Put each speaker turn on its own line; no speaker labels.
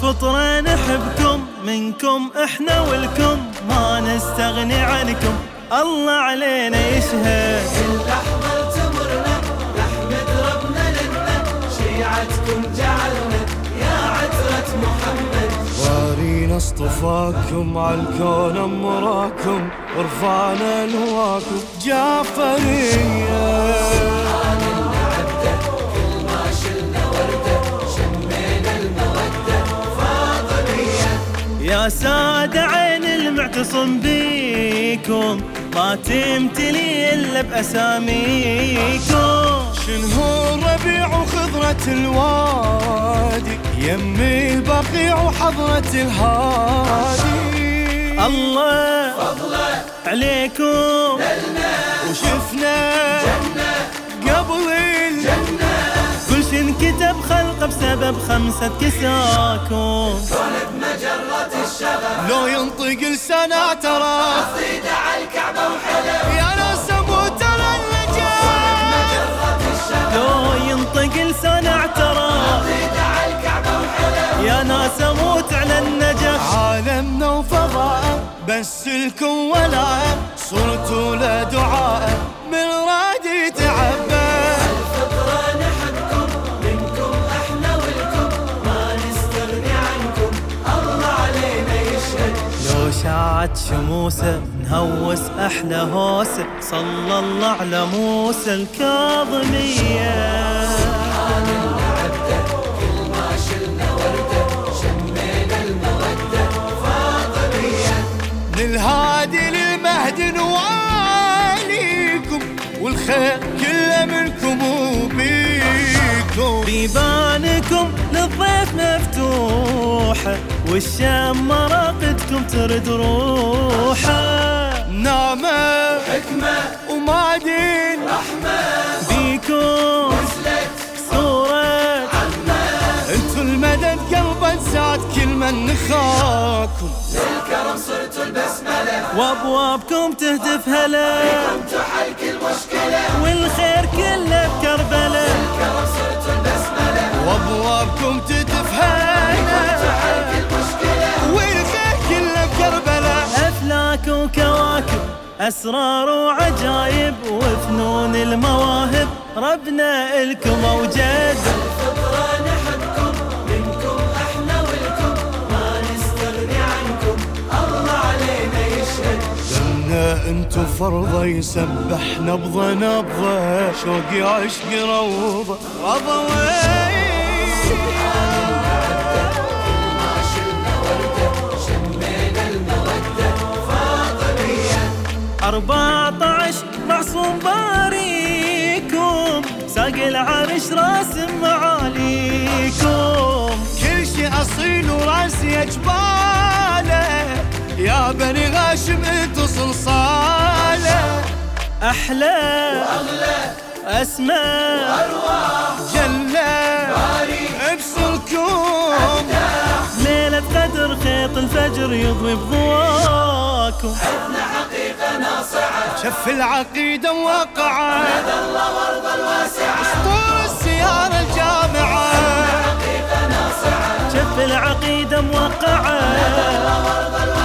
خاطري نحبكم منكم احنا والكم ما نستغني عنكم الله علينا يشهد
اللحظة تمرنا نحمد ربنا لنا شيعتكم جعلنا يا عترة محمد
وارينا اصطفاكم عالكون امراكم رفعنا نواكم جعفرية
يا سادة عين المعتصم بيكم ما تمتلي إلا بأساميكم
شنهو ربيع وخضرة الوادي يمي البقيع وحضرة الهادي
الله فضله عليكم
وشفنا قبل الجنة
كل شي انكتب خلقه بسبب خمسة كساكم
لو ينطق لسنا ترى قصيدة على الكعبة وحلا يا ناس مو ترى اللجأ
لو ينطق لسان اعتراف يا ناس اموت على النجف
عالمنا وفضاء بس لكم ولاء صرت ولا دعاء من رادي تعبى
منكم احنا والكم ما نستغني عنكم الله علينا يشهد
لو شاعت شموسه نهوس احلى هوسه صلى الله على موسى الكاظميه
للهادي للمهد نواليكم والخير كله منكم وبيكم
بيبانكم للضيف مفتوحه والشام مراقدكم ترد روحه
نعمة حكمة ومعدن
بيكم صوره
انتو المدد قلبا سعد كل من نخاكم
وابوابكم تهتف هلا بكم تحل كل مشكله والخير كله بكربله
وابوابكم تتفهنا والخير كله بكربلاء
افلاك وكواكب اسرار وعجايب وفنون المواهب ربنا الكم اوجد
فطرنا حبكم منكم احنا والكم ما نستغني عنكم الله علينا يشهد
دمنا انتو فرضة يسبحنا بضنبضة شوقي عشق روضة رضوي
أربعة عشر معصوم باريكم ساق العرش راسم معاليكم
كل شي اصيل وراسي اجباله يا بني غاشم انتو صلصاله
أحلى وأغلى أسمى
جله ابصركم
ليلة قدر خيط الفجر يضوي بضواكم
شف العقيدة واقعة مدى الله وارض الواسعة اسطول السيارة الجامعة
شف العقيدة موقعة